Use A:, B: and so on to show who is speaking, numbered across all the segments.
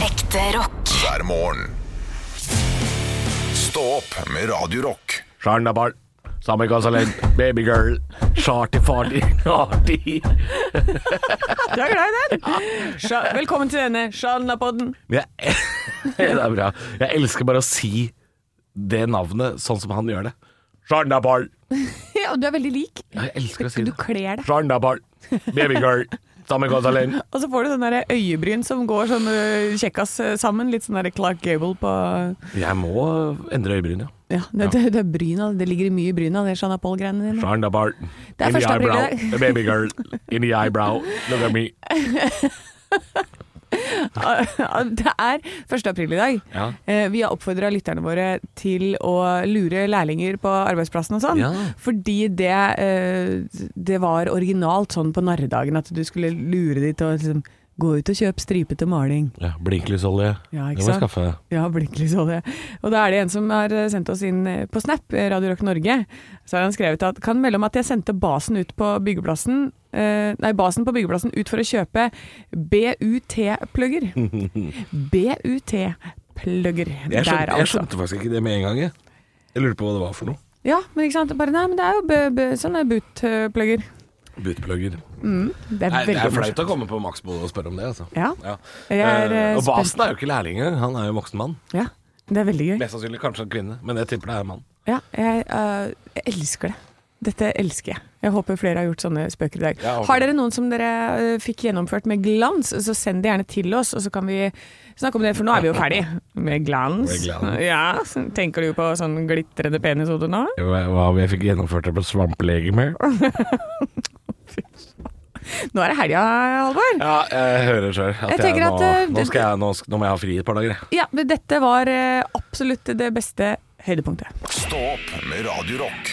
A: Ekte rock.
B: hver morgen. Stå opp med Radio Rock.
C: Stjerneball. Sammenkassalen. Babygirl. Charty-farty. Arty.
D: Du er glad i den? Sja- Velkommen til denne Sjalna-podden.
C: Jeg, det er bra. Jeg elsker bare å si det navnet sånn som han gjør det. Stjerneball.
D: Ja, og du er veldig lik.
C: Jeg elsker å si
D: Du
C: det.
D: kler deg.
C: Stjerneball. Babygirl. Sammenkassalen.
D: Og så får du sånn der øyebryn som går sånn øh, kjekkas øh, sammen. Litt sånn der Clark Gable på
C: Jeg må endre øyebryn, ja.
D: Ja, det, det, det er bryna. Det ligger mye i bryna, det Sjanna Paul-greiene dine.
C: Stjerneball. In
D: Det er
C: the
D: første april i
C: eyebrow.
D: dag.
C: Babygirl. In the eyebrow. Look at me.
D: Det er 1. april i dag.
C: Ja.
D: Eh, Vi har oppfordra lytterne våre til å lure lærlinger på arbeidsplassen og sånn.
C: Ja.
D: Fordi det, eh, det var originalt sånn på narredagen at du skulle lure de til å liksom, gå ut og kjøpe stripete maling.
C: Ja, Blinklysolje.
D: Ja,
C: det
D: ikke
C: må jeg
D: sant?
C: skaffe.
D: Ja, blinklys og det. Og da er det en som har eh, sendt oss inn eh, på Snap, eh, Radio Rock Norge. Så har han skrevet at kan melde om at jeg sendte basen ut på byggeplassen eh, Nei, basen på byggeplassen ut for å kjøpe BUT-plugger. BUT-plugger.
C: Jeg
D: Der,
C: skjønte, jeg
D: altså.
C: skjønte faktisk ikke det med en gang. Jeg, jeg lurte på hva det var for noe.
D: Ja, men ikke sant. Bare nei, men det er jo b b sånne BUT-plugger.
C: Bootplugger.
D: Det er
C: Nei, det
D: veldig
C: er
D: morsomt.
C: flaut å komme på Maxbolle og spørre om det, altså.
D: Ja.
C: Ja.
D: Jeg er,
C: Eh,
D: eh,
C: og Basen er jo ikke lærling engang, han er jo voksen mann.
D: ja. Det er veldig gøy.
C: Mest sannsynlig kanskje en kvinne, men jeg tipper det er en mann.
D: Ja, jeg, øh, jeg elsker det. Dette elsker jeg. Jeg håper flere har gjort sånne spøker i dag.
C: Ja, håper
D: har dere noen som dere øh, fikk gjennomført med glans, så send det gjerne til oss, og så kan vi snakke om det, for nå er vi jo ferdig. Med glans.
C: Med glans.
D: Ja, tenker du på sånn glitrende penishode nå?
C: Hva om jeg fikk gjennomført det på svamplegeme?
D: Nå er det helga, Halvor.
C: Ja, jeg hører sjøl at
D: Jeg
C: jeg,
D: tenker
C: nå,
D: at, eh,
C: nå, skal jeg, nå, sk- nå må jeg ha fri et par dager, jeg.
D: Ja, men dette var øh, absolutt det beste høydepunktet.
B: Stå opp med Radio Rock.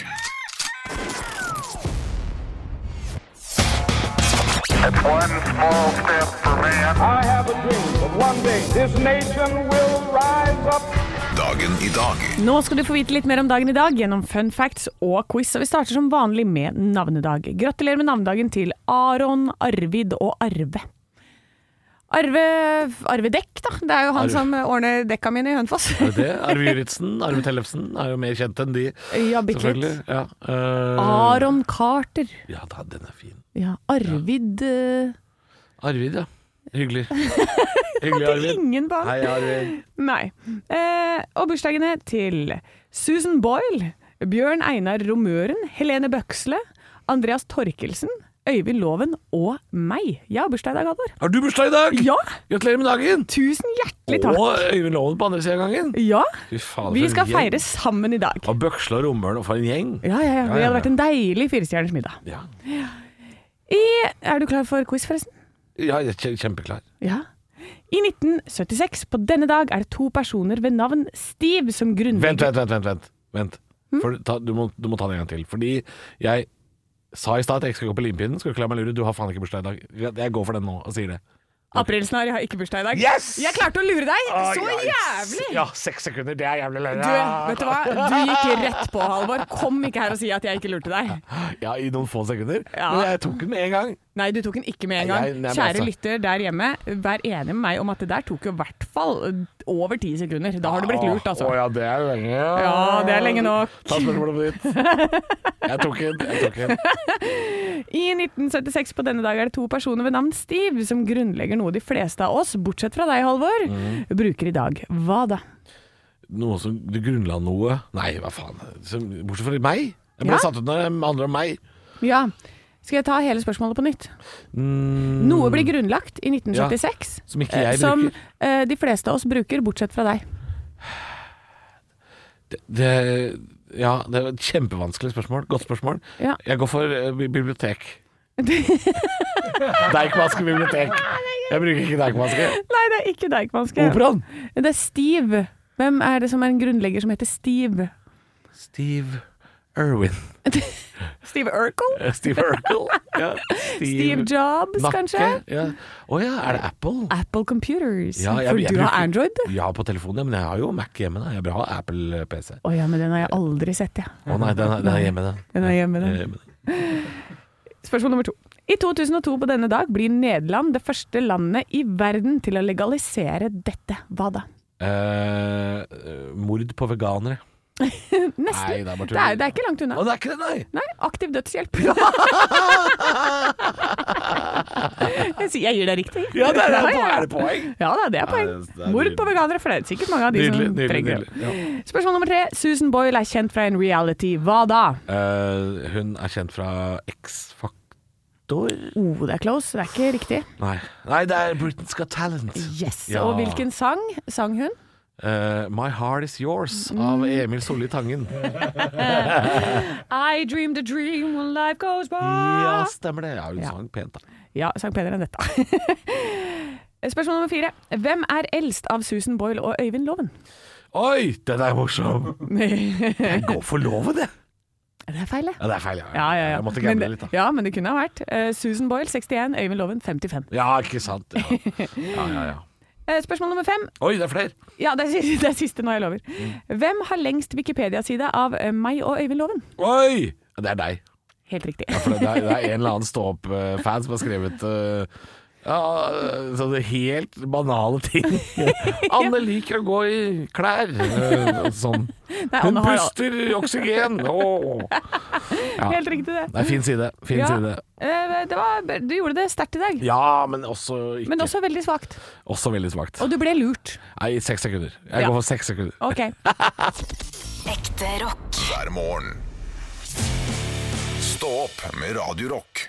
E: One small step for man.
F: I have a dream that one day this nation will rise up.
B: Dagen i dag
D: Nå skal du få vite litt mer om dagen i dag gjennom fun facts og quiz, og vi starter som vanlig med navnedag. Gratulerer med navnedagen til Aron, Arvid og Arve. Arve, Arve Dekk, da. Det er jo han
C: Arve.
D: som ordner dekka mine i Hønefoss.
C: Er det? Arve Juritzen, Arve Tellefsen er jo mer kjent enn de,
D: Ja, bitte
C: selvfølgelig.
D: litt.
C: Ja, eh,
D: Aron Carter.
C: ja da, den er fin.
D: Ja, Arvid eh,
C: Arvid, ja. Hyggelig. Hyggelig, Arvid.
D: Ingen barn.
C: Hei, Arvid.
D: Nei. Eh, og bursdagene til Susan Boyle, Bjørn Einar Romøren, Helene Bøksle, Andreas Torkelsen, Øyvind Loven og meg. Jeg har bursdag i dag, Halvor.
C: Har du bursdag i dag?
D: Ja!
C: Gratulerer med dagen!
D: Tusen hjertelig takk.
C: Og Øyvind Loven på andre sida av gangen.
D: Ja,
C: Fy faen,
D: vi
C: for en
D: skal
C: gjeng.
D: feire sammen i dag.
C: Og Bøksle og Romøren, og for en gjeng.
D: Ja, ja, ja.
C: ja,
D: Det hadde
C: ja.
D: vært en deilig firestjerners middag.
C: Ja,
D: I, er du klar for quiz, forresten?
C: ja jeg er kje- kjempeklar.
D: Ja. I 1976, på denne dag, er det to personer ved navn Steve som
C: Vent,
D: grunnlegger
C: vent, vent. vent, vent. vent.
D: Mm.
C: For, ta, du, må, du må ta det en gang til. Fordi jeg sa i stad at jeg ikke skal gå på limpinnen. Skal du ikke la meg lure? Du har faen ikke bursdag i dag. Jeg- Jeg går for den nå og sier det.
D: Aprilsnarr, jeg har ikke bursdag i dag.
C: Yes!
D: Jeg klarte å lure deg!
C: Å,
D: Så
C: ja,
D: jævlig!
C: Ja, seks sekunder. Det er jævlig lenge.
D: Du, vet du hva? Du gikk rett på, Halvor. Kom ikke her og si at jeg ikke lurte deg.
C: Ja, i noen få sekunder.
D: Ja.
C: Men jeg tok den med en gang.
D: Nei, du tok den ikke med en
C: Nei, nei,
D: gang.
C: men
D: Kjære
C: altså-
D: lytter der hjemme, vær enig med meg om at det der tok jo i hvert fall eh, over ti sekunder. Da har du blitt lurt, altså.
C: Å ja, det er lenge.
D: Ja, det er lenge nok.
C: Ta spørsmålet på nytt. Jeg tok en. Jeg tok en.
D: I 1976 på denne dag er det to personer ved navn Steve som grunnlegger noe de fleste av oss, bortsett fra deg, Halvor,
C: Mhm.
D: bruker i dag. Hva da?
C: noe som du grunnla noe Nei, hva faen. Som, bortsett fra meg. Jeg ble
D: Ja.
C: satt ut når det handler om meg.
D: Ja, skal jeg ta hele spørsmålet på nytt? Noe blir grunnlagt i 1976
C: Som ikke Mm. jeg
D: eh, som
C: bruker.
D: eh, de fleste av oss bruker, bortsett fra deg.
C: Det, det, ja, det er et kjempevanskelig spørsmål. Godt spørsmål.
D: Ja.
C: Jeg går for eh, bi- bibliotek. Deichmanske bibliotek. Jeg bruker ikke Deichmanske.
D: Nei, det er ikke Deichmanske.
C: Operaen.
D: Det er Steve. Hvem er det som er en grunnlegger som heter Steve?
C: Steve Irwin.
D: Steve Urkel?
C: Eh, Steve Urkel. Ja. Steve,
D: Steve Jobs,
C: Nakke.
D: kanskje?
C: Ja. Å ja, er det Apple?
D: Apple Computers.
C: Ja, jeg-
D: for
C: jeg
D: du har
C: bruker-
D: Android?
C: Ja, på telefonen, ja, men jeg har jo Mac hjemme. Da. Jeg har bra Apple-PC. Å
D: Å ja, men den har jeg aldri sett, jeg.
C: nei, den er, den er hjemme, den.
D: Den er hjemme, den.
C: Eh,
D: Spørsmål nummer to. I 2002 på denne dag blir Nederland det første landet i verden til å legalisere dette. Hva da?
C: Eh, mord på veganere. Nei,
D: Nesten.
C: det er bare
D: Det er, det er ikke langt unna.
C: Å, det er ikke det, nei!
D: Nei, aktiv dødshjelp. jeg sier jeg gir deg riktig.
C: Ja, det er, det
D: Ja,
C: er,
D: ja.
C: er det poeng?
D: Ja da, det er poeng.
C: Nei, det er- det er
D: Mord på
C: nydelig.
D: veganere, for det er sikkert mange av de
C: Nydelig.
D: som
C: nydelig,
D: trenger det.
C: nydelig. Ja.
D: Spørsmål nummer tre. Susan Boyle er kjent fra en reality. Hva da?
C: Eh, hun er kjent fra X-Faktor
D: Oh, det er close. Det er ikke riktig.
C: nei. nei, det er Britain's Got Talent.
D: Yes.
C: Ja.
D: Og hvilken sang sang hun?
C: Eh, My Heart Is Yours av Emil Solli Tangen.
D: I dreamed a dream when life goes by.
C: Ja, stemmer det. Ja, hun
D: Ja.
C: sang pent, da.
D: Ja, sang penere enn dette. Spørsmål nummer fire. Hvem er eldst av Susan Boyle og Øyvind Loven?
C: Oi, den er morsom!
D: det
C: Jeg går for loven, jeg.
D: er feil, det.
C: Ja, det er feil, ja.
D: Ja, ja, ja.
C: Jeg måtte
D: Men
C: gamble
D: det-
C: litt, da.
D: Ja, men det kunne ha vært. Eh, Susan Boyle 61, Øyvind Loven 55.
C: Ja, ikke sant. Ja, ja, ja. ja.
D: Eh, spørsmål nummer fem.
C: Oi, det er flere!
D: Ja, det er, siste- det er siste nå, jeg lover.
C: Mm.
D: Hvem har lengst Wikipedia-side av eh, meg og Øyvind Loven?
C: Oi! Det er deg.
D: Helt riktig.
C: For det, det er, det er en eller annen stå-opp-fan som har skrevet eh, ja, eh, sånne helt banale ting. Anne liker å gå i klær. eh, sånn.
D: Nei,
C: Hun
D: Anne har-
C: puster oksygen! Åh. Ja.
D: Helt riktig, det.
C: Det er fin side. Fin
D: Ja,
C: side.
D: eh, det var, du gjorde det sterkt i dag,
C: Ja, men også ikke.
D: men også veldig svakt.
C: Også veldig svakt.
D: Og du ble lurt.
C: Nei, seks sekunder. Jeg
D: Ja.
C: går for seks sekunder.
D: Ok.
A: Ekte rock.
B: hver morgen. Stå opp med Radio Rock.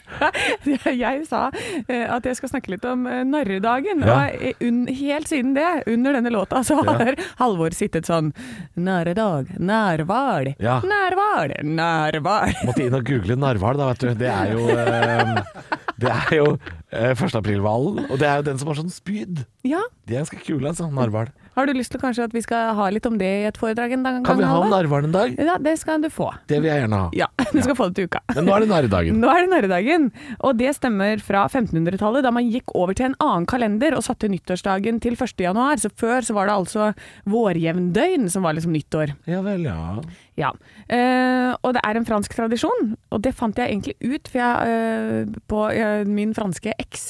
D: Jeg sa eh, at jeg skal snakke litt om eh, narredagen,
C: Ja.
D: og eh, unn- helt siden det, under denne låta, så har Halvor sittet sånn Narredag, nærval,
C: Ja.
D: nærval, nærval.
C: Måtte inn og google narhval, da, vet du. Det er jo eh, Det er jo eh, 1. april-hvalen, og det er jo den som har sånn spyd.
D: Ja,
C: De er ganske kule, altså. Narhval.
D: har du lyst til kanskje at vi skal ha litt om det i et foredrag en gang?
C: Kan vi ha
D: Halvor?
C: narhval en dag?
D: Ja, det skal du få.
C: Det vil jeg gjerne ha.
D: Ja, du skal få det til uka.
C: Men nå er det narredagen.
D: Nå er det narredagen, og det stemmer fra 1500-tallet, da man gikk over til en annen kalender og satte nyttårsdagen til 1. januar. Så før så var det altså vårjevndøgn som var liksom nyttår.
C: Ja vel, ja.
D: Ja. Eh, og det er en fransk tradisjon, og det fant jeg egentlig ut for jeg, eh, på eh, min franske eks.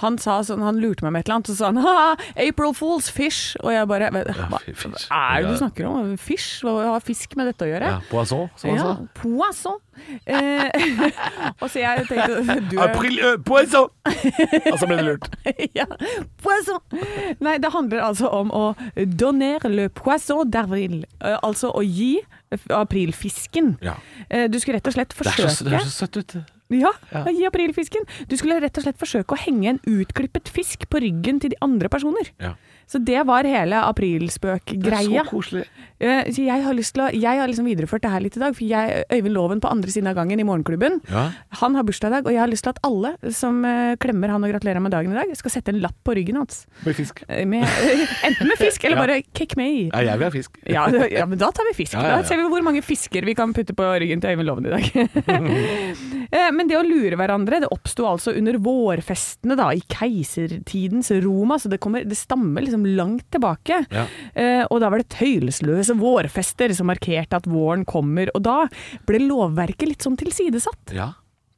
D: Han sa sånn, han lurte meg med et eller annet, og så sa han «Haha, April Fools, fish! Og jeg bare Hva hva
C: fi- fish.
D: er det
C: Ja.
D: du snakker om? Fish? Hva har fisk med dette å gjøre?
C: ja. Poisson, som han
D: Ja,
C: sa.
D: poisson. Eh, og så jeg tenkte du er-
C: April, ø, poisson! Og så ble det lurt.
D: ja, poisson. Nei, det handler altså om å donner le poisson d'avril. Eh, altså å gi aprilfisken.
C: Ja.
D: Eh, du skulle rett og slett
C: Det
D: forsøke
C: er så, det er så søtt ut.
D: Ja,
C: Ja.
D: gi aprilfisken. Du skulle rett og slett forsøke å henge en utklippet fisk på ryggen til de andre personer.
C: Ja.
D: Så det var hele
C: Det er
D: aprilspøkgreia.
C: så koselig.
D: Eh, Så jeg har, lyst til å, jeg har liksom videreført det her litt i dag, for jeg, Øyvind Loven på andre siden av gangen i Morgenklubben,
C: Ja.
D: han har bursdag i dag, og jeg har lyst til at alle som eh, klemmer han og gratulerer med dagen i dag, skal sette en lapp på ryggen hans.
C: Med fisk.
D: Eh, Med, enten med fisk, eller
C: Ja.
D: bare kekk meg i.
C: Ja, jeg vil ha fisk.
D: Ja, det- ja, men da tar vi fisk.
C: Ja, ja, ja.
D: Da ser vi hvor mange fisker vi kan putte på ryggen til Øyvind Loven i dag. Eh, men det å lure hverandre, det oppsto altså under vårfestene da, i keisertidens Roma, så det, kommer, det stammer liksom langt tilbake.
C: Ja.
D: Eh, og da var det tøylesløse vårfester som markerte at våren kommer, og da ble lovverket litt sånn tilsidesatt.
C: Ja.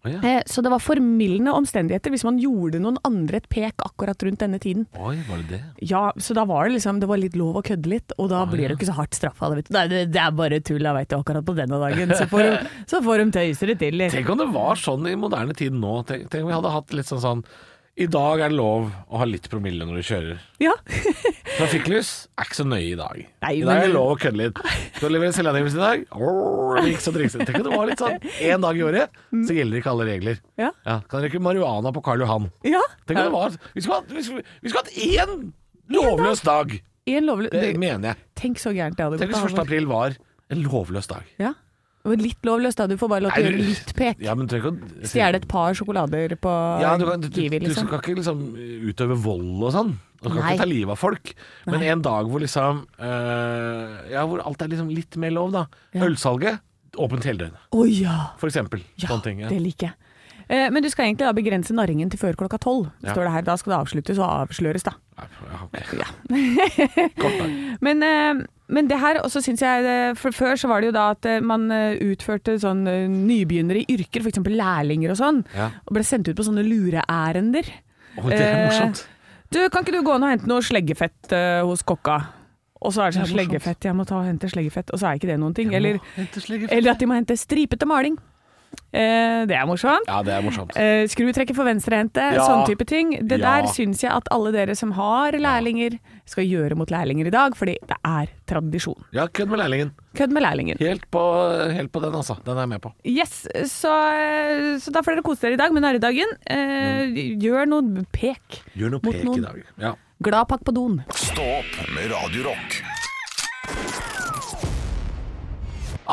C: Å, ja.
D: Eh, Så det var formildende omstendigheter hvis man gjorde noen andre et pek akkurat rundt denne tiden.
C: Oi, var det det?
D: Ja, så da var det liksom Det var litt lov å kødde litt, og da blir det jo ikke så hardt straffa. Det, vet du. Nei, det, det er bare tull, jeg veit det, akkurat på denne dagen. Så får de, så får de tøyse det til. liksom.
C: Tenk om det var sånn i moderne tid nå. Tenk, tenk om vi hadde hatt litt sånn sånn I dag er det lov å ha litt promille når du kjører.
D: Ja.
C: Trafikklys er ikke så nøye i dag.
D: Nei,
C: I dag er
D: men-
C: det lov å kødde litt. Du leverer selvangivelse i dag. Åh, det gikk så trikset. Tenk om det var litt sånn én dag i året, så gjelder ikke alle regler.
D: Mm. Ja.
C: kan røyke marihuana på Karl Johan.
D: ja.
C: Tenk om det var Vi skulle hatt- vi skulle- vi skulle hatt én lovløs dag!
D: I en lovlig
C: Det
D: det,
C: mener jeg.
D: Tenk så gærent det hadde
C: Tenk
D: gått.
C: hvis 1.
D: Halvor.
C: april var en lovløs dag.
D: Ja. Og Litt lovløst, da. Du får bare lov til å
C: Nei,
D: gjøre litt pek.
C: Ja, men tenk å
D: Stjele et par sjokolader på
C: Ja, du, kan, du,
D: Kiwi,
C: du
D: liksom.
C: skal ikke liksom utøve vold og sånn. Du skal
D: Nei.
C: ikke ta livet av folk. Men
D: Nei.
C: en dag hvor liksom eh, Ja, hvor alt er liksom litt mer lov, da. Ølsalget åpent hele døgnet,
D: Å ja!
C: for eksempel.
D: Ja,
C: Sånne ting. Ja.
D: det liker jeg. Eh, Men du skal egentlig da begrense narringen til før klokka tolv.
C: Ja.
D: Står det her. Da skal det avsluttes og avsløres, da.
C: Nei, ja, ok. Kort dag.
D: Men eh, Men det her også syns jeg eh, For før så var det jo da at eh, man eh, utførte sånn eh, nybegynnere i yrker, f.eks. lærlinger og sånn,
C: Ja.
D: og ble sendt ut på sånne lureærender.
C: Oi, det er
D: Eh,
C: morsomt.
D: Du, kan ikke du gå inn og hente noe sleggefett eh, hos kokka? Og så er det
C: Det
D: sånn
C: er morsomt.
D: sleggefett, jeg må ta og hente sleggefett, og så er ikke det noen ting. Eller,
C: Eller
D: eller at de må hente stripete maling. Eh, det er morsomt.
C: Ja, det er morsomt.
D: Eh, skrutrekker for venstrehendte,
C: Ja.
D: sånn type ting. Det
C: Ja.
D: der syns jeg at alle dere som har lærlinger, skal gjøre mot lærlinger i dag, fordi det er tradisjon.
C: Ja, kødd med lærlingen.
D: Kødd med lærlingen.
C: Helt på, helt på den, altså. Den er jeg med på.
D: Yes, så, så da får dere kose dere i dag med nærdagen. Eh, Gjør noe pek.
C: Mm. Gjør noe
D: Mot
C: pek
D: noen.
C: i dag. Ja.
D: Gladpakk på doen.
B: Stå opp med Radio Rock.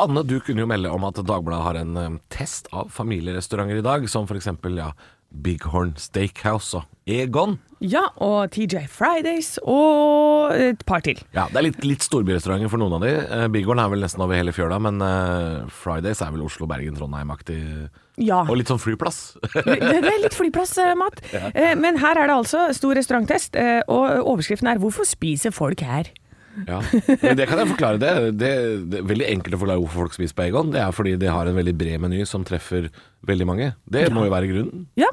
C: Anne, du kunne jo melde om at Dagbladet har en eh, test av familierestauranter i dag, som f.eks. Ja, Bighorn Steakhouse og Egon.
D: Ja, og TJ Fridays og et par til.
C: Ja, Det er litt, litt storbyrestauranter for noen av de. Eh, Bighorn er vel nesten over hele fjøla, men eh, Fridays er vel Oslo, Bergen, Trondheim-aktig.
D: Ja.
C: Og litt sånn flyplass.
D: Det det er litt flyplass, eh, Matt. Eh, Men her er det altså stor restauranttest, eh, og overskriften er 'Hvorfor spiser folk her?'
C: Ja, men det kan jeg forklare. Det, det, det er veldig enkelt å forklare hvorfor folk spiser på Egon. Det er fordi de har en veldig bred meny som treffer veldig mange. Det må jo være grunnen.
D: Ja,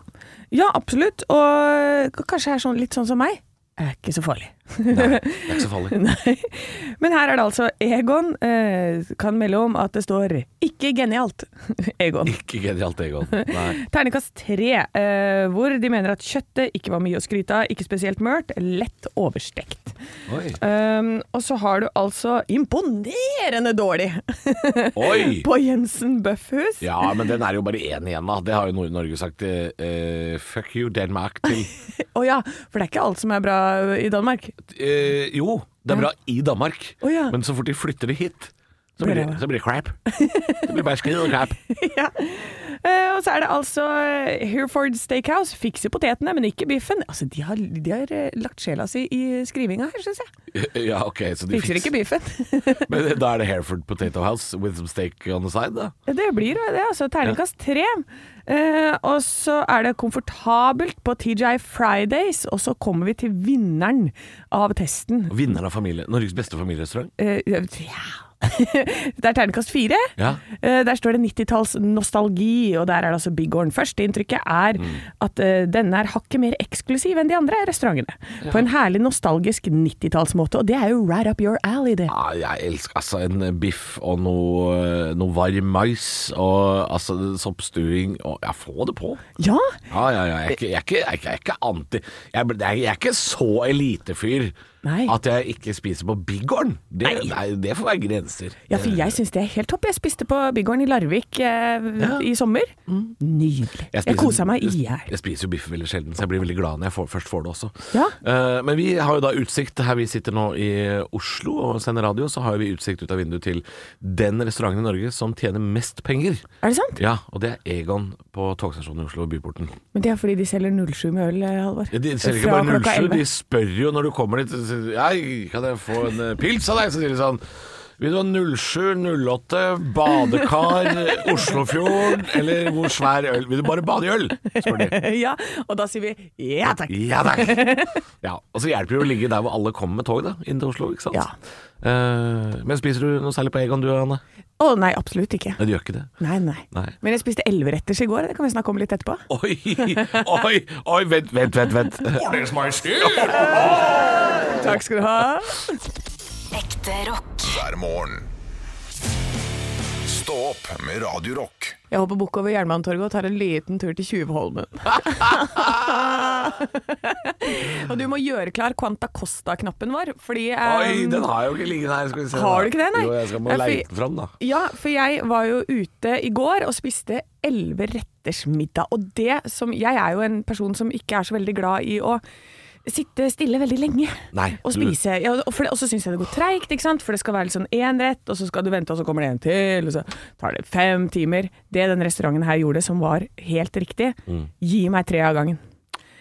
D: ja absolutt. Og k- kanskje er sånn, litt sånn som meg. Er ikke så farlig.
C: Det er ikke så farlig.
D: Nei. Men her er det altså Egon eh, kan melde om at det står 'ikke genialt'. Egon.
C: Ikke genialt Egon. Nei.
D: Ternekast tre, eh, hvor de mener at kjøttet ikke var mye å skryte av, ikke spesielt mørt, lett overstekt.
C: Oi.
D: Um, og så har du altså imponerende dårlig
C: Oi.
D: på Jensen Bøffhus.
C: Ja, men den er jo bare én igjen, da. Det har jo Nord-Norge sagt. eh, eh, fuck you, Denmark. Til.
D: Å ja, for det er ikke alt som er bra i Danmark.
C: Eh, jo, det er bra i Danmark,
D: Å ja.
C: men så fort de flytter det hit, så blir det, så blir det crap. Det blir bare skid og crap.
D: ja. Eh, og så er det altså eh, Hereford Steakhouse. Fikser potetene, men ikke biffen. Altså, De har, de har eh, lagt sjela si i skrivinga her, syns jeg.
C: Ja, ok, så de
D: Fikser ikke biffen.
C: Men da er det Hereford Potato House with some steak on the side, da.
D: det blir det, altså. Terningkast tre. Eh, og så er det komfortabelt på TJ Fridays, og så kommer vi til vinneren av testen.
C: Vinneren av familie, Norges beste familierestaurant.
D: Eh, ja. det er terningkast fire.
C: Ja.
D: Eh, der står det 90-talls nostalgi, og der er det altså Bighorn. Førsteinntrykket er
C: Mm.
D: at eh, denne er hakket mer eksklusiv enn de andre restaurantene. På en herlig nostalgisk 90-tallsmåte, og det er jo right up your alley, det.
C: Ja, jeg elsker altså en biff og noe, noe varm mais og altså soppstuing og Ja, få det på.
D: Ja!
C: Ja, ja, ja. Jeg er ikke, jeg er ikke, jeg er ikke, jeg er ikke anti jeg, ble- jeg, jeg er ikke så elitefyr
D: Nei.
C: at jeg ikke spiser på Bighorn. Det, nei, det får være grenser. Eh,
D: Ja, for jeg syns det er helt topp. Jeg spiste på Bighorn i Larvik eh, i sommer. Nydelig. Jeg,
C: Mm. spiser-
D: kosa meg i
C: Jeg,
D: hjel.
C: jeg spiser jo biff veldig sjelden, så jeg blir veldig glad når jeg får, først får det også.
D: Ja.
C: Eh, men vi har jo da utsikt her vi sitter nå i Oslo og sender radio, så har vi utsikt ut av vinduet til den restauranten i Norge som tjener mest penger.
D: Er det sant?
C: Ja, og det er Egon på togstasjonen i Oslo, Byporten.
D: Men det er fordi de selger 07 med øl, eh, Halvor.
C: Ja, De selger ikke
D: Fra
C: bare
D: klokka
C: 07,
D: 11.
C: de spør jo når du kommer dit så sier de, «Hei, Kan jeg få en eh, pils av deg? Så sier de sånn Vil du ha 07, 08, badekar, Oslofjorden Eller hvor svær øl? Vil du bare bade i øl? Spør de.
D: Ja, og da sier vi ja takk.
C: Ja takk. Ja, og så hjelper det jo å ligge der hvor alle kommer med tog, da. Inn til Oslo, ikke sant.
D: Ja.
C: Eh, men spiser du noe særlig på Egon du, Anne?
D: Å nei, absolutt ikke.
C: Nei, du gjør ikke det.
D: Nei, nei.
C: Nei.
D: Men jeg spiste elveretters i går, det kan vi snakke om litt etterpå.
C: Oi, oi, oi, vent, vent, vent. vent.
D: Takk skal du ha.
A: Ekte rock.
B: hver morgen. Stå opp med Radio Rock.
D: Jeg hopper bukk over Jernbanetorget og tar en liten tur til Tjuvholmen. og du må gjøre klar Quanta Costa-knappen vår, fordi
C: Oi,
D: ehm,
C: den har jeg jo ikke liggende her. Skal vi se.
D: Har du ikke den, nei?
C: Jo, jeg skal må
D: Nei, for-
C: leite den fram, da.
D: Ja, for jeg var jo ute i går og spiste elleve retters middag. Og det som Jeg er jo en person som ikke er så veldig glad i å sitte stille veldig lenge
C: Nei, Mm.
D: og
C: du-
D: spise. Ja, og for det- og så syns jeg det går treigt, ikke sant. For det skal være litt sånn én rett, og så skal du vente, og så kommer det en til, og så tar det fem
C: Mm.
D: timer. Det den restauranten her gjorde som var helt riktig, gi meg tre av gangen.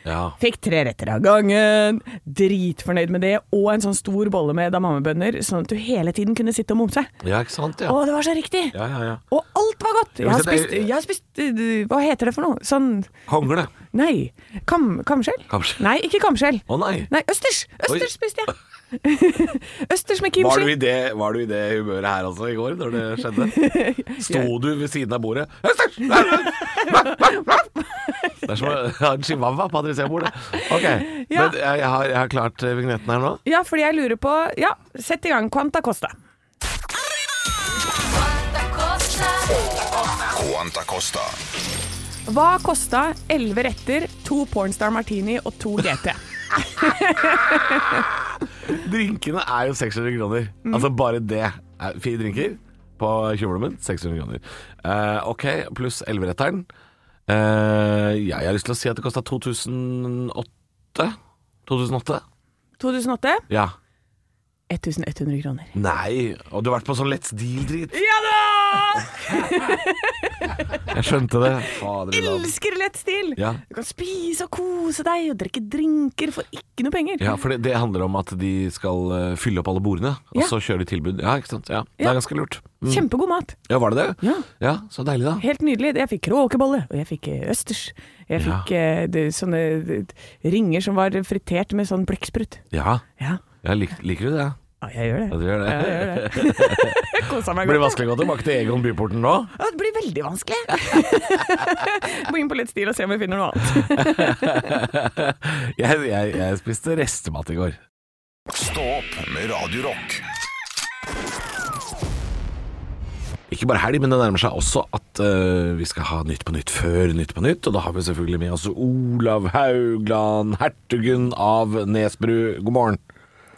C: Ja.
D: Fikk tre retter av gangen. Dritfornøyd med det. Og en sånn stor bolle med damamebønner, sånn at du hele tiden kunne sitte og momse.
C: ja, ikke sant? Ja.
D: Å, det var så riktig!
C: Ja, ja, ja.
D: Og alt var godt! Jeg har
C: hvis det er-
D: spist, jeg har spist eh, Hva heter det for noe? Sånn
C: Kongle.
D: Nei. Kam, kamskjell?
C: Kamskjell.
D: Nei, ikke kamskjell.
C: Å nei.
D: Nei, østers!
C: Oi.
D: Østers spiste jeg. østers med
C: Var du, i
D: kimchi.
C: det, var du i det humøret her altså i går, når det skjedde? Sto du ved siden av bordet «Østers!» Det er som å ha en chihuahua på adresserbordet. Ok,
D: Ja.
C: men jeg, jeg, har, jeg har klart eh, vignetten her nå.
D: Ja, fordi jeg lurer på Ja, sett i gang Quanta Costa.
B: Quanta Costa.
D: Hva kosta elleve retter, to pornstar martini og to GT?
C: Drinkene er jo 600 kroner.
D: Mm.
C: Altså bare det. er Fire drinker på tjuvlommen, 600 kroner. Eh, ok, pluss 11-retteren. Eh, jeg har lyst til å si at det kosta 2008. 2008?
D: 2008
C: Ja.
D: 1100 kroner.
C: Nei. Og du har vært på sånn Let's Deal-drit.
D: Ja da!
C: Jeg skjønte det. Fader i land.
D: Elsker lett stil!
C: Ja.
D: Du kan spise og kose deg og drikke drinker for ikke noe penger.
C: Ja, for det, det handler om at de skal eh, fylle opp alle bordene, og
D: Ja.
C: så kjøre de tilbud. Ja, ikke sant? Ja, Det
D: Ja.
C: er ganske lurt. Mm.
D: Kjempegod mat.
C: Ja, var det det?
D: Ja.
C: Så deilig, da.
D: Helt nydelig. Jeg fikk kråkebolle, og jeg fikk eh, østers. Jeg
C: Ja.
D: fikk eh, det, sånne det, ringer som var fritert med sånn blekksprut.
C: Ja,
D: Ja.
C: ja lik, Liker du det?
D: ja, jeg gjør
C: Ja,
D: det.
C: du gjør det.
D: Ja, jeg gjør det. Kosa meg
C: Det blir
D: godt.
C: vanskelig å gå tilbake til Egon Byporten nå.
D: Ja, Det blir veldig vanskelig. Gå inn på litt stil og se om vi finner noe annet.
C: Jeg, jeg, jeg spiste restemat i går.
B: Stå opp med Radio Rock.
C: Ikke bare helg, men det nærmer seg også at eh, vi skal ha Nytt på nytt før Nytt på nytt. Og da har vi selvfølgelig med oss Olav Haugland, hertugen av Nesbru. God morgen.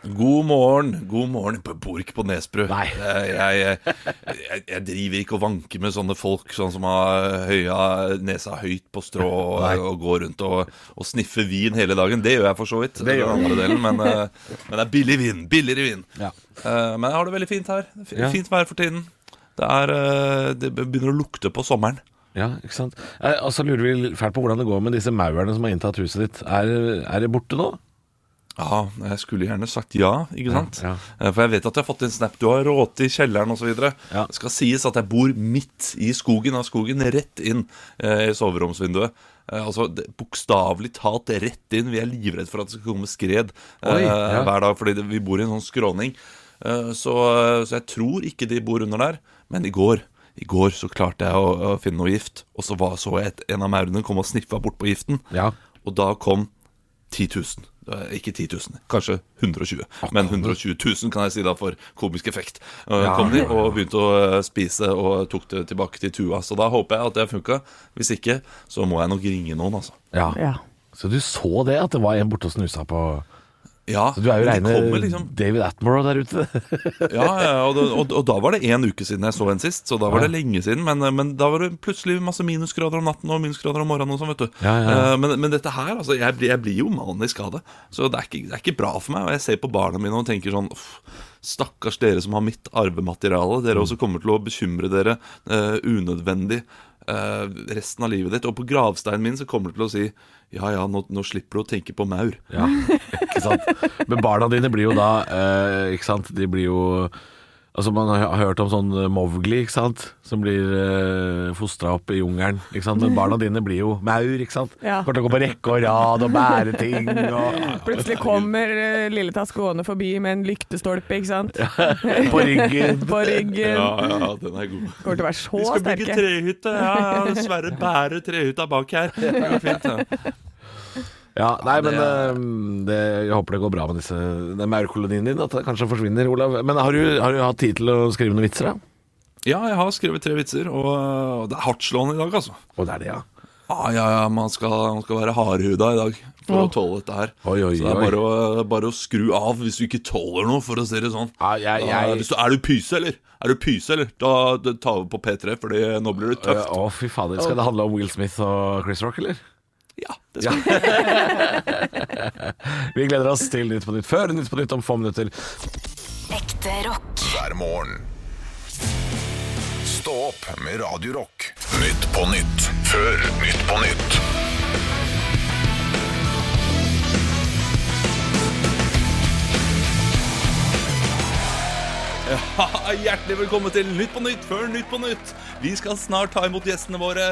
G: God morgen. God morgen. Jeg bor ikke på Nesbru.
C: Nei.
G: Eh, Jeg, jeg, jeg driver ikke og vanker med sånne folk sånn som har høya, nesa høyt på strå og, og går rundt og, og sniffer vin hele dagen. Det gjør jeg for så vidt. Det gjør den andre delen, men, eh, men det er billig vin. Billigere vin.
C: Ja.
G: Eh, Men jeg har det veldig fint her. F-
C: Ja.
G: Fint vær for tiden. Det, er, eh, det begynner å lukte på sommeren.
C: Ja, ikke sant. Eh, Og så lurer vi fælt på hvordan det går med disse maurene som har inntatt huset ditt. Er, er det borte nå?
G: Ja, jeg skulle gjerne sagt ja, ikke sant?
C: Ja,
G: Eh, For jeg vet at jeg har fått en snap. Du har råte i kjelleren osv.
C: Ja.
G: Det skal sies at jeg bor midt i skogen, av skogen rett inn eh, i soveromsvinduet. Eh, altså det- Bokstavelig talt rett inn. Vi er livredd for at det skal komme skred eh,
C: Oi, ja.
G: hver dag, fordi det, vi bor i en sånn skråning. Eh, så, så jeg tror ikke de bor under der. Men i går i går så klarte jeg å, å finne noe gift, og så var, så jeg et, en av maurene komme og sniffa bort på giften.
C: Ja.
G: Og da kom 10 000. Eh, Ikke 10 000, kanskje 120. Men 120 000 kan jeg si da for komisk effekt. Eh,
C: Ja,
G: kom de
C: ja, ja.
G: og begynte å eh, spise og tok det tilbake til tua. Så da håper jeg at det funka. Hvis ikke, så må jeg nok ringe noen, altså.
C: Ja.
D: Ja.
C: Så du så det, at det var en borte og snusa på
G: Ja,
C: Du er jo
G: men de
C: reine
G: kommer liksom
C: David Attenborough der ute.
G: ja, ja, og, da- og, og da var det én uke siden jeg så en sist, så da var det lenge siden. Men, men da var det plutselig masse minusgrader om natten og minusgrader om morgenen og sånn, vet du.
C: Ja, ja, ja.
G: Eh, Men, men dette her, altså, jeg, blir- jeg blir jo manisk av det. Så det er, ikke, det er ikke bra for meg. Og jeg ser på barna mine og tenker sånn uff, Stakkars dere som har mitt arvemateriale. Dere også kommer til å bekymre dere eh, unødvendig eh, resten av livet ditt. Og på gravsteinen min så kommer det til å si ja ja, nå, nå slipper du å tenke på maur.
C: Ja, ikke sant. Men barna dine blir jo da eh, Ikke sant, de blir jo Altså Man har hørt om sånn eh, Mowgli, ikke sant, som blir eh, fostra opp i jungelen. Ikke sant? Men barna dine blir jo maur, ikke sant.
D: Ja.
C: Kommer til å gå på rekke og rad og bære ting og
D: Plutselig kommer eh, Lilletass gående forbi med en lyktestolpe, ikke sant?
C: på ryggen.
D: På ryggen.
G: ja, den er god.
D: Kommer til å være så
G: Vi skal bygge
D: sterke.
G: trehytte. Ja, ja, dessverre bærer trehytta bak her. Det går fint, ja.
C: Ja, nei, men
G: det er-
C: eh, det, jeg håper det går bra med disse den maurkolonien din. At det kanskje forsvinner, Olav. Men har du, har du hatt tid til å skrive noen vitser, da?
G: ja, jeg har skrevet tre vitser, og og det er hardtslående i dag, altså.
C: Å, det er det, ja.
G: Ah, ja, ja, man skal, man skal være hardhuda i dag for å tåle dette her.
C: Oi, oi,
G: Så det er
C: oi.
G: bare å, bare å skru av hvis du ikke tåler noe, for å si det sånn.
C: Ja, jeg-
G: Da-
C: jeg-
G: hvis du, er du pyse, eller? Er du pyse, eller? Da da tar vi på P3, for nå blir det
C: Eh,
G: tøft.
C: Å, fy fader. Skal det handle om Will Smith og Chris Rock, eller?
G: Ja, det skal
C: Vi gleder oss til Nytt på Nytt før Nytt på Nytt om få minutter.
A: Ekte rock.
B: hver morgen. Stå opp med Radio Rock. Nytt på nytt før Nytt på nytt.
G: Ja, hjertelig velkommen til Nytt på Nytt før Nytt på Nytt. Vi skal snart ta imot gjestene våre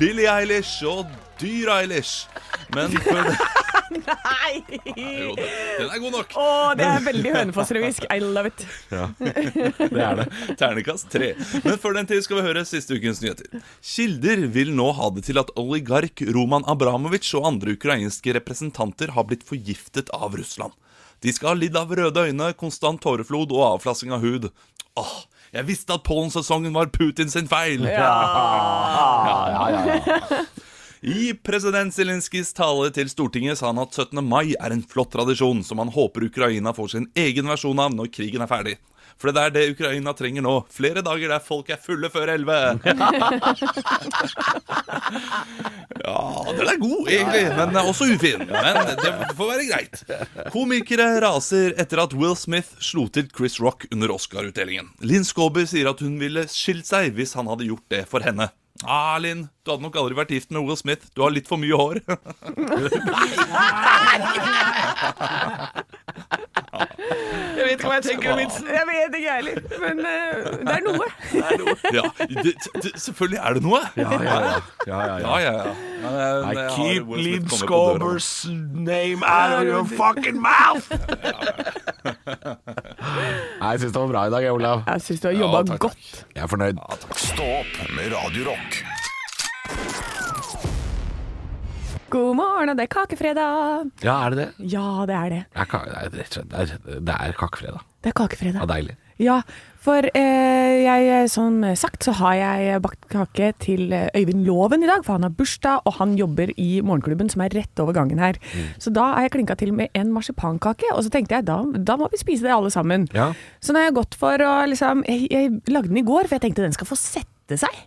G: Billie Eilish og Dyr Eilish. Men før det
D: Nei!
G: Jo, Den er god nok.
D: Å, det er veldig hønefoss-revisk. I love it.
C: Det er det.
G: Ternekast tre. Men før den tid skal vi høre siste ukens nyheter. Kilder vil nå ha det til at oligark Roman Abramovic og andre ukrainske representanter har blitt forgiftet av Russland. De skal ha lidd av røde øyne, konstant tåreflod og avflassing av hud. Åh, jeg visste at pollensesongen var Putin sin feil! I president Zelenskyjs tale til Stortinget sa han at 17. mai er en flott tradisjon som han håper Ukraina får sin egen versjon av når krigen er ferdig. For det er det Ukraina trenger nå. Flere dager der folk er fulle før elleve. ja, den er god, egentlig, men også ufin. Men det får være greit. Komikere raser etter at Will Smith slo til Chris Rock under Oscar-utdelingen. Linn Skåber sier at hun ville skilt seg hvis han hadde gjort det for henne. Ah, Linn, du hadde nok aldri vært gift med Will Smith. Du har litt for mye hår.
D: Jeg vet ikke hva jeg tenker om vitsen. Jeg vet ikke, jeg heller. Men eh, det er noe.
G: ja, det, det, selvfølgelig er det noe.
C: Ja, ja, ja. ja, ja, ja.
G: ja, ja, ja. Men, eh,
C: I
G: jeg har
C: keep
G: Will Smith
C: Linn
G: kommet på døra.
C: Skåbers name out of your fucking mouth! Nei, jeg syns det var bra i dag, jeg, Olav.
D: Jeg syns du har
G: Ja,
D: jobba
G: takk, takk.
D: godt.
C: Jeg er fornøyd.
B: Stå opp med Radio Rock.
D: God morgen, og det er kakefredag.
C: Ja, er det det?
D: Ja, det er det.
C: Det er, ka- det er, rett og slett- det er, det er kakefredag.
D: Det er
C: Ja,
D: kakefredag.
C: deilig.
D: Ja, for eh, jeg, som sagt, så har jeg bakt kake til eh, Øyvind Loven i dag, for han har bursdag, og han jobber i morgenklubben som er rett over gangen her.
C: Mm.
D: Så da har jeg klinka til med en marsipankake, og så tenkte jeg da, da må vi spise det alle sammen.
C: Ja.
D: Så nå har jeg gått for å liksom jeg, jeg lagde den i går, for jeg tenkte den skal få sette seg.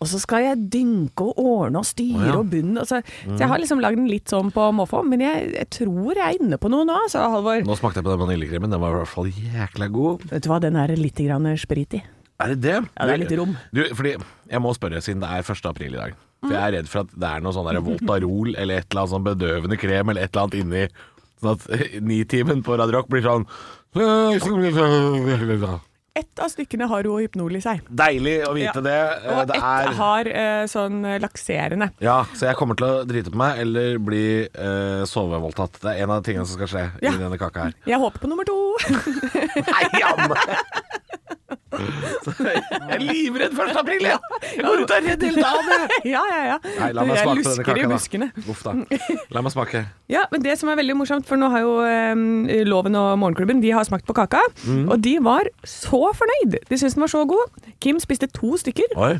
D: Og så skal jeg dynke og ordne og styre og bunne. Og så,
C: Mm.
D: så jeg har liksom lagd den litt sånn på måfå, men jeg, jeg tror jeg er inne på noe nå, altså, Halvor.
C: Nå smakte jeg på den vaniljekremen. Den var i hvert fall jækla god.
D: Vet du hva, den er litt grann sprit i.
C: Er det det?
D: Ja, det er litt rom.
C: Du, fordi jeg må spørre, siden det er 1. april i dag. For jeg er redd for at det er noe sånn der Voltarol eller et eller annet sånn bedøvende krem eller et eller annet inni. Sånn at Nitimen på Radio Rock blir sånn
D: Ett av stykkene har jo hypnol i seg.
C: Deilig å vite
D: Ja.
C: det. Eh,
D: Og
C: Det
D: ett
C: er
D: har eh, sånn eh, lakserende.
C: Ja, så jeg kommer til å drite på meg eller bli eh, sovevoldtatt. Det er en av tingene som skal skje
D: Ja.
C: i denne kaka her.
D: Jeg håper på nummer to.
C: Nei, Anne! Så jeg er livredd 1. april, jeg! Jeg går ut og er redd hele dagen! jeg.
D: ja, ja, ja.
C: Nei, la meg
D: jeg
C: smake på
D: lusker
C: denne kaka,
D: i
C: da.
D: buskene.
C: Uff da. La meg smake.
D: Ja, men det som er veldig morsomt, for nå har jo eh, Loven og Morgenklubben De har smakt på kaka,
C: Mm.
D: og de var så fornøyd. De syntes den var så god. Kim spiste to stykker,
C: Oi.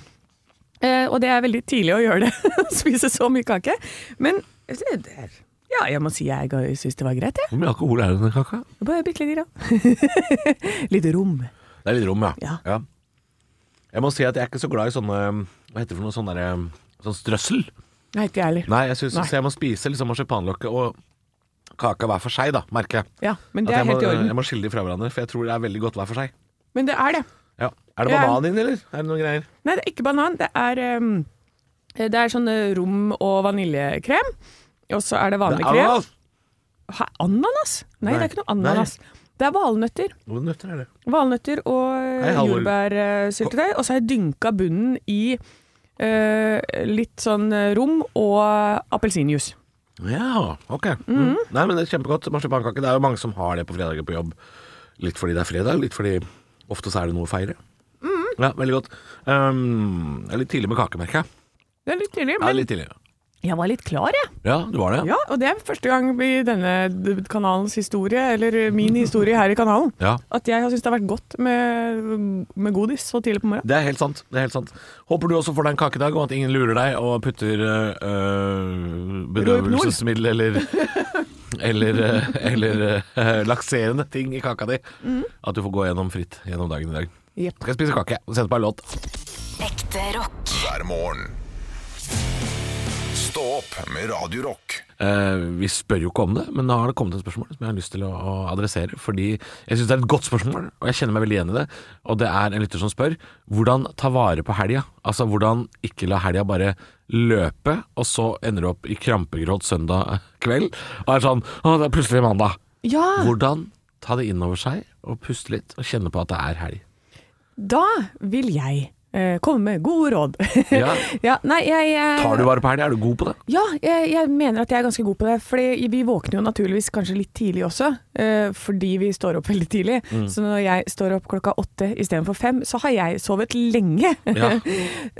D: eh, og det er veldig tidlig å gjøre det. å Spise så mye kake. Men eh, det er- ja, jeg må si jeg ga- syns det var greit, jeg.
C: Hvor mye alkohol er det i denne kaka?
D: Ja. Bare bitte litt, grann. litt rom.
C: Det er litt rom, ja.
D: Ja.
C: Jeg må si at jeg er ikke så glad i sånne Hva heter det for noe sånn derre Sånn strøssel.
D: Nei, ikke jeg heller.
C: Nei, jeg synes,
D: Nei.
C: Så jeg må spise liksom marsipanlokket og kaka hver for seg, da, merker jeg.
D: Ja, men det
C: At
D: er
C: jeg må, eh,
D: helt i orden.
C: Jeg må skille de fra hverandre, for jeg tror det er veldig godt hver for seg.
D: Men det er det.
C: Ja. Er det
D: Ja.
C: banan inni, eller? Er det noen greier?
D: Nei, det er ikke banan. Det er, ehm, det er sånn eh, rom- og vaniljekrem. Og så er det vanlig krem.
C: ananas!
D: Hæ, ananas? Nei, det
C: Nei.
D: er ikke noe ananas. Det er valnøtter.
C: Hvor nøtter er det?
D: Valnøtter
C: Hei,
D: og eh,
C: Halvor.
D: jordbærsyltetøy. Og så har jeg dynka bunnen i eh, litt sånn eh, rom og appelsinjuice.
C: Ja, ok. Mm. Nei, men det er kjempegodt. Marsipankake. Det er jo mange som har det på fredager på jobb. Litt fordi det er fredag, litt fordi ofte så er det noe å feire.
D: Mm.
C: Ja, veldig godt. Um, det er litt tidlig med kake, merker jeg.
D: Det er litt tidlig,
C: Ja,
D: men
C: litt tidlig.
D: jeg var litt klar, jeg.
C: Ja, du var det?
D: Ja, og det er første gang i denne d- kanalens historie, eller min historie her i kanalen,
C: Ja.
D: at jeg har syntes det har vært godt med, med godis så tidlig på morgenen.
C: Det er helt sant. det er helt sant Håper du også får deg en kake i dag, og at ingen lurer deg og putter øh, øh, bedøvelsesmiddel eller Eller, øh, eller øh, lakserende ting i kaka di.
D: Mm.
C: At du får gå gjennom fritt gjennom dagen i dag.
D: Jepp.
C: Skal jeg spise kake og sette på en låt.
A: Ekte rock.
B: hver morgen. Stå opp med Radio Rock.
C: Eh, vi spør jo ikke om det, men nå har det kommet et spørsmål som jeg har lyst til å, å adressere. Fordi jeg syns det er et godt spørsmål, og jeg kjenner meg veldig igjen i det. Og det er en lytter som spør hvordan ta vare på helga. Altså hvordan ikke la helga bare løpe, og så ender du opp i krampegråt søndag kveld og er sånn Å, det er plutselig mandag.
D: Ja!
C: Hvordan ta ta det innover seg og puste litt og kjenne på at det er helg.
D: Da vil jeg eh, komme med gode råd.
C: Ja.
D: ja, nei, jeg, eh,
C: Tar du vare på helg? Er du god på det?
D: Ja, jeg, jeg mener at jeg er ganske god på det. Fordi vi våkner jo naturligvis kanskje litt tidlig også, eh, fordi vi står opp veldig tidlig.
C: Mm.
D: Så når jeg står opp klokka åtte istedenfor fem, så har jeg sovet lenge.
C: Ja.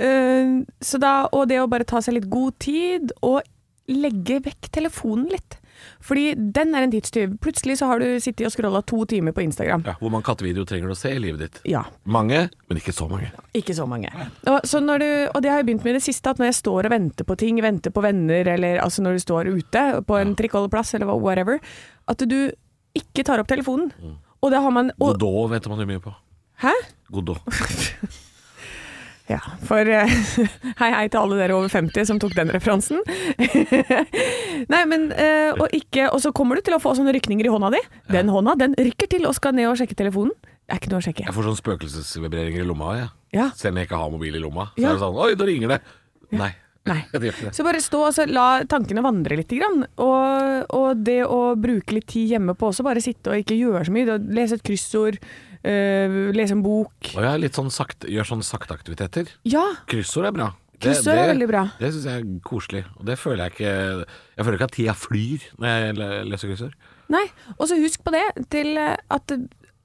D: Eh, så da, og det å bare ta seg litt god tid og legge vekk telefonen litt. Fordi den er en tidstyv. Plutselig så har du sittet og scrolla to timer på Instagram.
C: Ja, hvor mange kattevideoer trenger du å se i livet ditt?
D: Ja,
C: Mange, men ikke så mange.
D: ikke så mange. Og, så når du, og det har jeg begynt med i det siste, at når jeg står og venter på ting, venter på venner, eller altså når du står ute på en trikkholdeplass eller hva- whatever, at du ikke tar opp telefonen. Og det har man og,
C: Godot vet man jo mye på.
D: Hæ?
C: Godot.
D: Ja, for eh, hei hei til alle dere over 50 som tok den referansen. Nei, men eh, og ikke Og så kommer du til å få sånne rykninger i hånda di. Den hånda den rykker til og skal ned og sjekke telefonen. Det er ikke noe å sjekke.
C: Jeg får sånne spøkelsesvibreringer i lomma, jeg.
D: Ja.
C: Selv når jeg ikke har mobil i lomma. Så
D: Ja.
C: er det sånn Oi, da ringer det. Nei.
D: Nei.
C: Det gjør ikke det.
D: Så bare stå og så la tankene vandre litt. Grann. Og, og det å bruke litt tid hjemme på også, bare sitte og ikke gjøre så mye. Da Lese et kryssord, eh, lese en bok.
C: Og jeg er litt sånn sakte, gjør sånn sakteaktiviteter.
D: Ja,
C: Kryssord er bra.
D: Kryssord er veldig bra.
C: Det syns jeg er koselig. Og det føler jeg ikke Jeg føler ikke at tida flyr når jeg le- leser kryssord.
D: nei. Og så husk på det til eh, at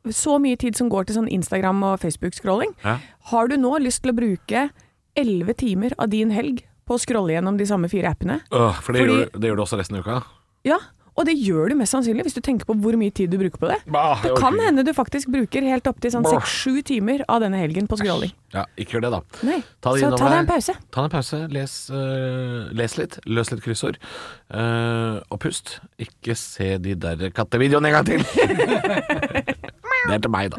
D: så mye tid som går til sånn Instagram og Facebook-scrolling.
C: Ja.
D: Har du nå lyst til å bruke elleve timer av din helg på å scrolle gjennom de samme fire appene?
C: Øh, for det,
D: Fordi-
C: gjør, du- det gjør du også resten av uka.
D: Ja, og det gjør du mest sannsynlig hvis du tenker på hvor mye tid du bruker på det.
C: Bah, jeg
D: det
C: orker
D: kan
C: ikke.
D: hende du faktisk bruker helt opptil sånn
C: Bah.
D: seks-sju timer av denne helgen på scrolling.
C: Ja, ikke gjør det, da.
D: Nei,
C: Ta det
D: så
C: innover
D: ta deg
C: deg.
D: en pause.
C: Ta deg en pause, les, øh, les litt, løs litt kryssord, øh, og pust. Ikke se de der kattevideoene en gang til! det er til meg, da.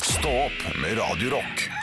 B: Stå opp med Radio Rock.